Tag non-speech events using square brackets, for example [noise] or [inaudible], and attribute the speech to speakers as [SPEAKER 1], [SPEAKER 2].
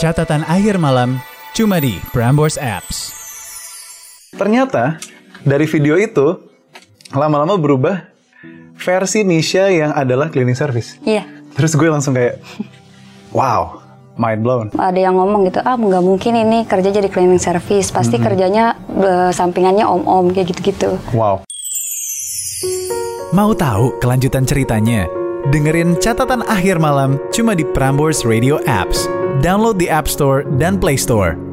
[SPEAKER 1] Catatan akhir malam cuma di Prambors Apps.
[SPEAKER 2] Ternyata dari video itu lama-lama berubah versi Nisha yang adalah cleaning service.
[SPEAKER 3] Iya.
[SPEAKER 2] Terus gue langsung kayak [laughs] wow, mind blown.
[SPEAKER 3] Ada yang ngomong gitu, ah nggak mungkin ini kerja jadi cleaning service, pasti kerjanya eh, sampingannya om-om kayak gitu-gitu.
[SPEAKER 2] Wow.
[SPEAKER 1] Mau tahu kelanjutan ceritanya? Dengerin catatan akhir malam cuma di Prambors Radio Apps. Download di App Store dan Play Store.